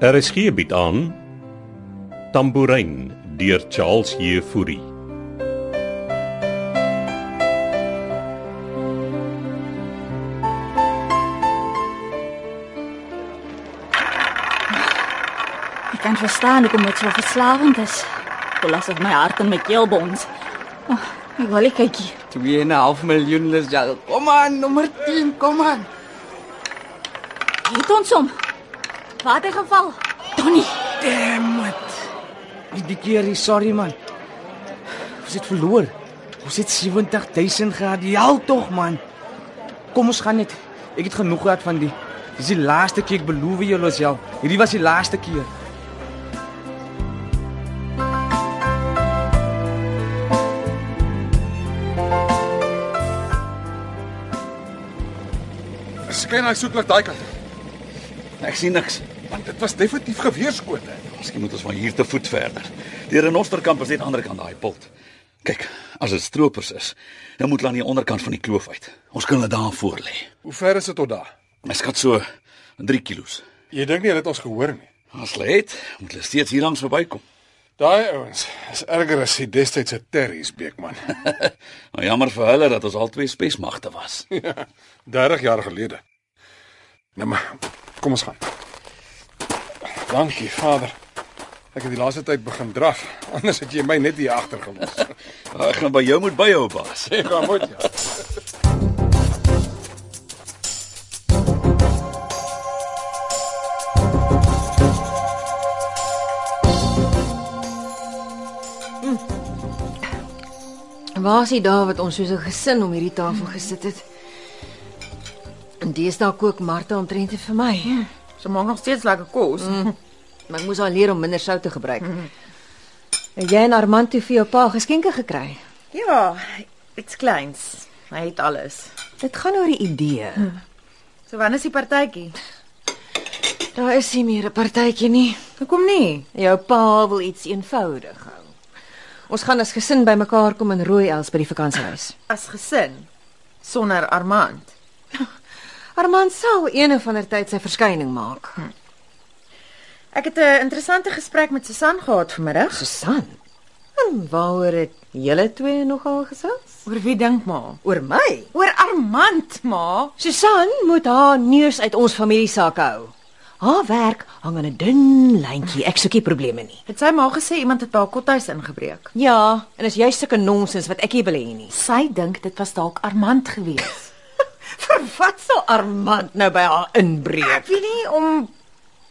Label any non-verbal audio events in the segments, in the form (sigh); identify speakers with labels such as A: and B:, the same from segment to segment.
A: RSG bied Er aan Tambourin deur Charles Jefouri.
B: Ek kan verstaan hoekom dit so verslawend is. Dit laat my hart en my keel bons. Oh, ek wil nie kyk hier.
C: 2,5 miljoen is ja. Kom aan, nommer 10, kom aan.
B: Het ons hom. Water geval. Donnie,
C: Damn it. Ek die keer, hier, sorry man. Ons het verloor. Ons het 70000 gehad. Ja tog man. Kom ons gaan net. Ek het genoeg gehad van die. Dis die laaste keer ek beloof jou Losel. Hierdie was die laaste keer.
D: Skyn hy soek langs daai kant.
E: Ek sien niks.
D: Want dit was definitief geweerskote.
E: Miskien moet ons van hier te voet verder. Die renosterkamp is net aan die ander kant daai pult. Kyk, as dit stroopers is, dan moet hulle aan die onderkant van die kloof uit. Ons kan hulle daar voor lê.
D: Hoe ver is dit tot daar?
E: Ek skat so 3 kilos.
D: Jy dink nie hulle het ons gehoor nie.
E: As hulle het, moet hulle steeds hier langs verbykom.
D: Daai ouens is erger as die destydse Terries (laughs) Beekman.
E: Nou jammer vir hulle dat ons al twee spesmagte was.
D: 30 jaar gelede. Nou maar, kom ons gaan. Dankie, Vader. Ek het die laaste tyd begin draf, (laughs) anders het jy my net hier agter gelos. (laughs)
E: Ek gaan by jou moet byhou, baas.
D: Ek gaan moet ja.
F: Waar is die dae wat ons soos 'n gesin om hierdie tafel gesit het? En deesdae kook Martha omtrent nie vir my,
G: Ze maak nog steeds lekker kos.
F: maar ek moes haar leer om minder sout te gebruik. Het jy en Armand toe vir jou pa geskenke gekry?
G: Ja, iets kleins. Hy het alles.
F: Dit gaan oor die idee.
G: So wanneer is die partytjie?
F: Daar is nie meer 'n partytjie nie.
G: Hoekom nie?
F: Jou pa wil iets eenvoudig hou. Ons gaan as gesin bymekaar kom in Rooiels by die vakansiehuis.
G: As gesin sonder Armand.
F: Armand sal een of ander tyd sy verskyning maak.
G: Ek het 'n interessante gesprek met Susan gehad vanmiddag.
F: Susan. En waaroor het julle twee nogal gesels?
G: Oor wie dink ma?
F: Oor my.
G: Oor Armand, ma.
F: Susan moet haar neus uit ons familie saak hou. Haar werk hang aan 'n dun lyntjie. Ek soek nie probleme nie.
G: Het sy ma gesê iemand het by haar kothuis ingebreek?
F: Ja, en is jy sulke nonsens wat ek nie wil hê nie.
G: Sy dink dit was dalk Armand gewees.
F: Vir wat sal Armand nou by haar inbreek?
G: Ek weet nie om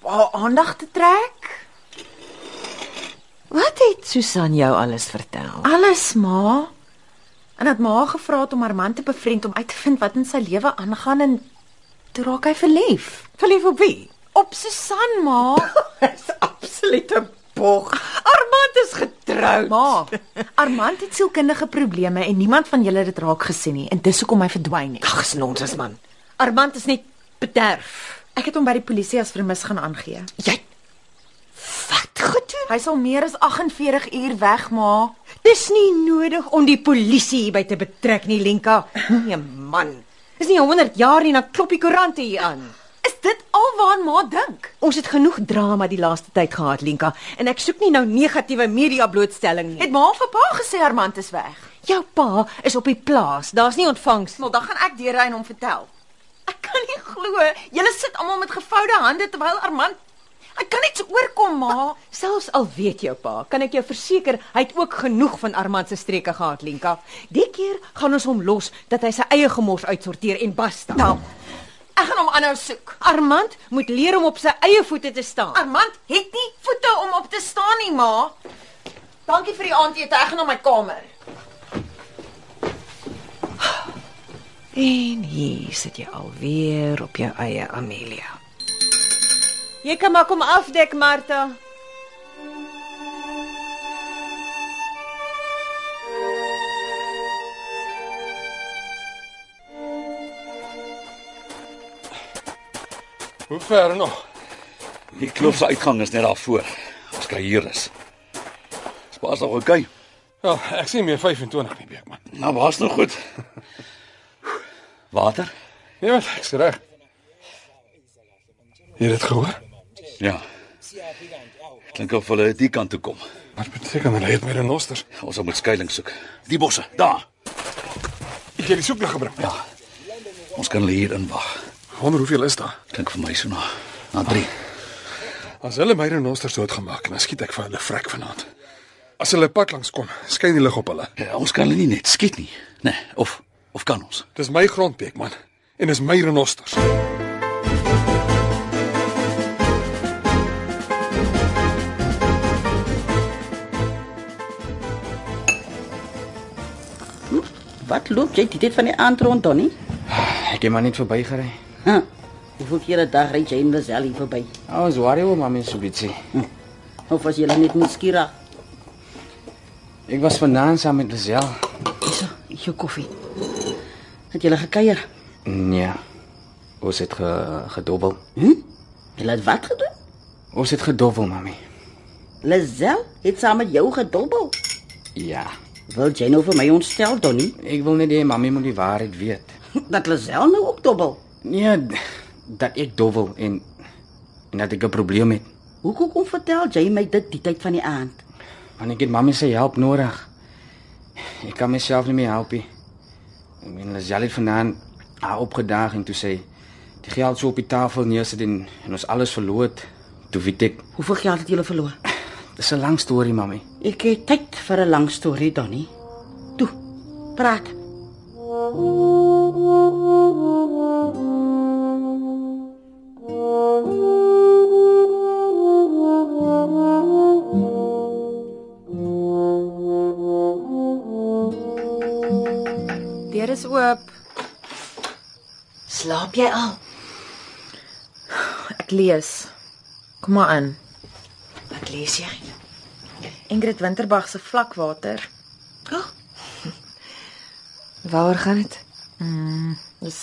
G: haar aandag te trek.
F: Wat het Susan jou alles vertel?
G: Alles, ma. En dat ma gevra het om haar man te bevriend om uit te vind wat in sy lewe aangaan en toe raak hy verlief.
F: Verlief op wie?
G: Op Susan,
F: (laughs)
G: ma.
F: Dis absolute bog. Armand is getroud.
G: Ma, Armand het sielkundige probleme en niemand van julle het dit raak gesien nie en dis hoekom hy verdwyn het.
F: Ag, dis nonsens man. Armand is net bederf.
G: Ek het hom by die polisie as vermis gaan aangee.
F: Jy Wat gedoen?
G: Hy sal meer as 48 uur weg, ma.
F: Dis nie nodig om die polisie hierby te betrek nie, Lenka. Nee man. Dis nie 100 jaar nie, dan klop die koerante hier aan.
G: Is dit alwaar ma dink?
F: Ons het genoeg drama die laaste tyd gehad, Lenka, en ek soek nie nou negatiewe media blootstelling nie.
G: Het ma vir pa gesê Armand is weg?
F: Het jou pa is op die plaas. Daar's nie ontvangs nie.
G: Wel, dan gaan ek deurry en hom vertel. Ek kan nie glo. Julle sit almal met gevoude hande terwyl Armand Ek kan net so oorkom, ma.
F: Selfs al weet jou pa, kan ek jou verseker, hy het ook genoeg van Armand se streke gehad, Lenka. Die keer gaan ons hom los dat hy sy eie gemors uitsorteer en basta.
G: Nou, ek gaan hom aanhou soek.
F: Armand moet leer om op sy eie voete te staan.
G: Armand het nie voete om op te staan nie, ma. Dankie vir die aandete. Ek gaan na my kamer.
F: En hier sit jy alweer op jou eie, Amelia. Jy kan maar kom afdek, Martha.
D: Hoe ver nog?
E: Die kloof se uitgang is net daar voor. Ons kry hier is. Spaas nog oké. Okay.
D: Wel, ek sien meer 25 nie Beekman.
E: Nou was nog goed. Water?
D: Nee, wat ek's reg. Jy het dit gehoor?
E: Ja. Klink of hulle die kant toe kom.
D: Wat beteken hulle het my renosters?
E: Ons sal moet skuilings soek. Die bosse, daar.
D: Het jy die soeklig gebring? Ja.
E: Ons kan hulle hier inwag.
D: Wonder hoeveel is daar?
E: Klink vir my so na na 3.
D: As hulle my renosters doodgemaak het, dan skiet ek vir hulle vrek vanaand. As hulle pad langs kom, skyn die lig op hulle.
E: Ja, ons kan hulle nie net skiet nie. Nee, of of kan ons?
D: Dis my grondbek man en dis my renosters.
H: Wat loop jy die tyd van die aand rond, Donnie?
C: Ek het maar net verbygery.
H: Huh. Hoeveel keer 'n dag ry jy in Wesel hier verby?
C: Ons worry oor mami so bietjie.
H: Of as jy net nuuskierig.
C: Ek was vanaand saam met Lisel.
H: Dis jou koffie. Het jy gele gekuier?
C: Nee. Ons het ge, gedobbel.
H: Hm? Jy laat wat gedoen?
C: Ons het gedobbel, mami.
H: Lazel het saam met jou gedobbel.
C: Ja.
H: Wil jy nou vir my ontstel, Donnie?
C: Ek wil net hê mami moet die waarheid weet.
H: (laughs) Dat Lazel nou ook dobbel.
C: Nee, d- dat ek dobbel en en dat ek 'n probleem het.
H: Hoekom kom vertel jy my dit die tyd van die aand?
C: Want ek het mami se help nodig. Ek kan myself nie meer help nie. Ek meen Lisel het vanaand haar opgedaag en toe sê die geld so op die tafel neersit en, en ons alles verloor het. Toe weet ek,
H: Hoeveel geld het jy
C: (laughs)
H: verloor?
C: dis 'n lang storie, mami.
H: Ek het tyd vir 'n lang storie, Donnie. Toe, praat.
G: Deur is oop.
I: Slaap jy al? Ek lees. Kom maar in.
G: Wat lees jy?
I: Ingrid Winterbag se vlakwater.
G: Oh,
I: (laughs) Waaroor gaan dit? Mm, dis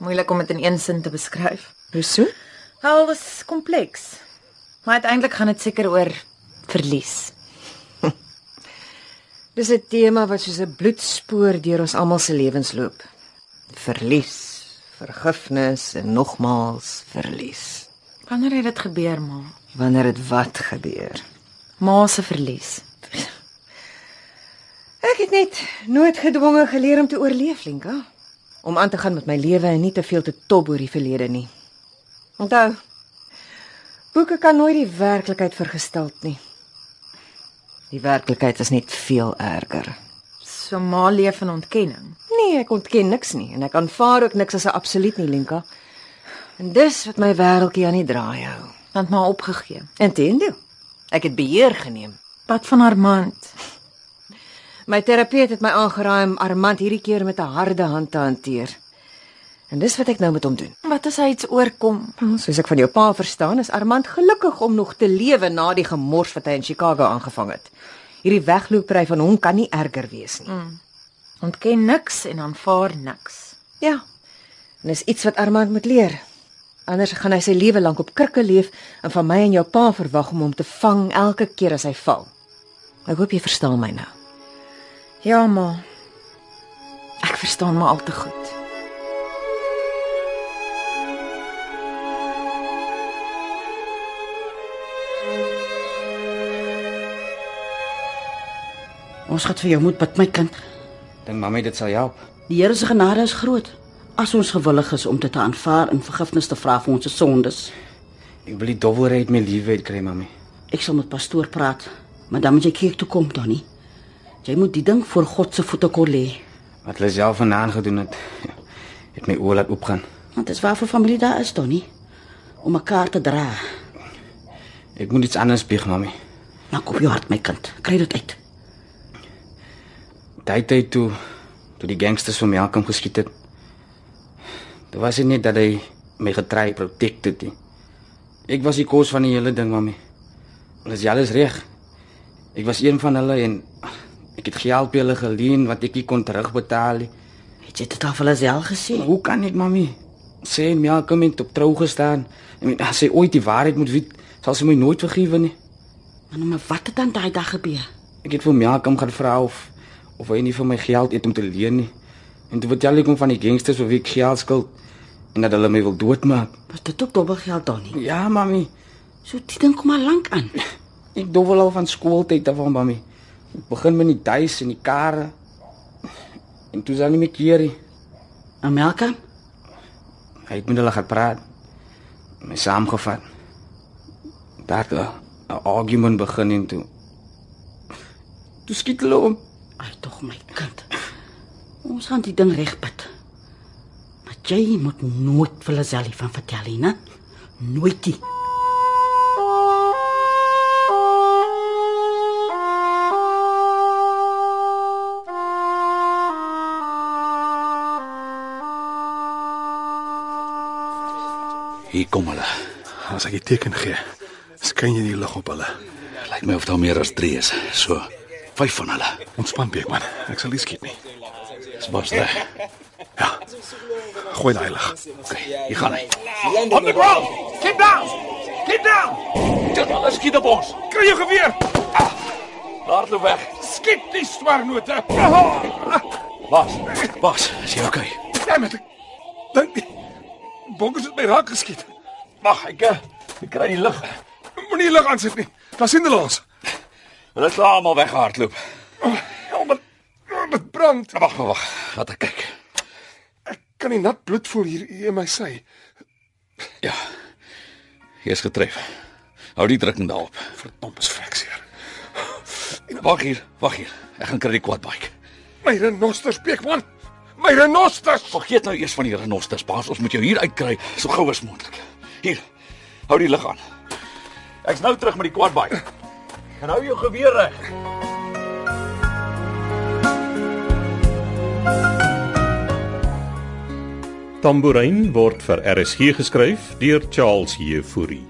I: moeilik om dit in een sin te beskryf. Hoeso? Wel, dis kompleks. Maar uiteindelik gaan dit seker oor verlies.
F: Dis 'n tema wat soos 'n bloedspoor deur ons almal se lewens loop.
I: Verlies,
F: Vergifnis en nogmaals verlies.
I: Wanneer het dit gebeur, ma?
F: Wanneer dit wat gebeur.
I: Ma se verlies.
F: Ek het net nooit gedwonge geleer om te oorleef, Lenka. Om aan te gaan met my lewe en nie te veel te tob oor die verlede nie. Onthou, boeke kan nooit die werklikheid vergesteld nie. Die werklikheid is net veel erger.
I: So ma leef in ontkenning.
F: Nee, ek ontken niks nie en ek aanvaar ook niks as 'n absoluut nie, Lenka. En dis wat my wêreldjie aan die draai hou.
I: Want ma opgegee.
F: Intendo. Ek het beheer geneem.
I: Wat van Armand?
F: My terapeut het my aangeraai om Armand hierdie keer met 'n harde hand te hanteer. En dis wat ek nou met hom doen.
I: Wat as hy iets oorkom?
F: Wel, Soos ek van jou pa verstaan, is Armand gelukkig om nog te lewe na die gemors wat hy in Chicago aangevang het. Hierdie wegloopry van hom kan nie erger wees nie.
I: Ontken niks en aanvaar niks.
F: Ja. En dis iets wat Armand moet leer. Anders gaan hy sy lewe lank op krikke leef en van my en jou pa verwag om hom te vang elke keer as hy val. Ek hoop jy verstaan my nou.
I: Ja, ma. Ek verstaan maar al te goed.
H: Ons gaan vir jou moet bid, my kind.
C: Dink mami dit sal help.
H: Die Here se genade is groot. As ons gewillig is om dit te aanvaar en vergifnis te vra vir ons sondes.
C: Ek wil die dobbelry uit my lewe uitkry, mami.
H: Ek sal met pastoor praat, maar dan moet jy kerk toe kom, Donnie. Jy moet die ding voor God se voete kon lê.
C: Wat hulle self vanaand gedoen het, (laughs) het my oë laat oopgaan.
H: Want dit is waarvoor familie daar is, Donnie. Om mekaar te dra.
C: Ek moet iets anders bieg, mami.
H: Nou kom jou hart, my kind. Kry dit uit.
C: Daai tyd toe toe die gangsters van Melkom geskiet het. Dit was dit nie dat hy my getry protect het nie. Ek was die kos van die hele ding, mami. Hulle is alles reg. Ek was een van hulle en ek het geld by hulle geleen wat ek nie kon terugbetaal nie.
H: Het jy dit al vir Lazel gesê?
C: Maar Hoe kan ek, mami? Sê Malcolm het op trou gestaan. Ek meen, as sy ooit die waarheid moet weet, sal sy my nooit vergewe nie.
H: Maar nou maar wat het dan daai dag gebeur?
C: Ek het vir Malcolm gaan vra of of hy nie vir my geld het om te leen nie. En toe vertel ek hom van die gangsters vir wie ek geld skuld en dat hulle my wil doodmaak.
H: Was dit ook dobbelgeld, Donnie?
C: Ja, mami.
H: So die ding kom al lank aan.
C: Ek dowel al van skooltyd af aan mami. Ek begin met die duis en die karre. En toe is daar nie meer keer nie.
H: Amelka,
C: Hy het met hulle gaan praat. My saamgevat. Daar het 'n- 'n argument begin en toe. Toe skiet hulle om.
H: ai tog my kind. Ons gaan die ding regpit. Maar jy moet nooit vir Lazelle van vertel nie, né? Nooit nie.
E: Hier kom hulle.
D: As ek die teken gee, skyn jy die lig op hulle.
E: Lyk my of daar meer as 3 is. So, 5 van hulle.
D: Ontspan Beekman, ek sal nie skiet nie.
E: Dis bas reg.
D: Gooi daai lig.
E: Hier gaan hy.
J: On the ground! Keep down! Keep down!
E: Dit alles skiet op ons.
J: Kry jou geweer!
E: Hardloop weg.
J: Skiet die swarnote!
E: Bas. Bas, is jy okay?
J: Damn it. Dink nie. Bokkers het my raak geskiet. Wag, ek eh, ek kry die lig.
D: Moenie lig aan sit nie. Dan sien hulle ons.
E: Hulle is klaar almal weggehardloop.
D: Oh, Dit brand.
E: Wag, wag, wag. Laat ek kyk.
D: Kan die nat bloed voel hier hier in my sy.
E: Ja. Jy's getref. Hou die druk net daarop.
D: Verdomp is frekseer.
E: Wag hier, wag hier. Ek gaan kry die quadbike.
D: My renosters Beekman. My renosters.
E: Vergeet nou eers van die renosters, baas. Ons moet jou hier uitkry so gou as moontlik. Hier. Hou die lig aan. Ek's nou terug met die quadbike. Gaan hou jou geweer reg.
A: Tambourin word vir RSG geskryf deur Charles Heffury.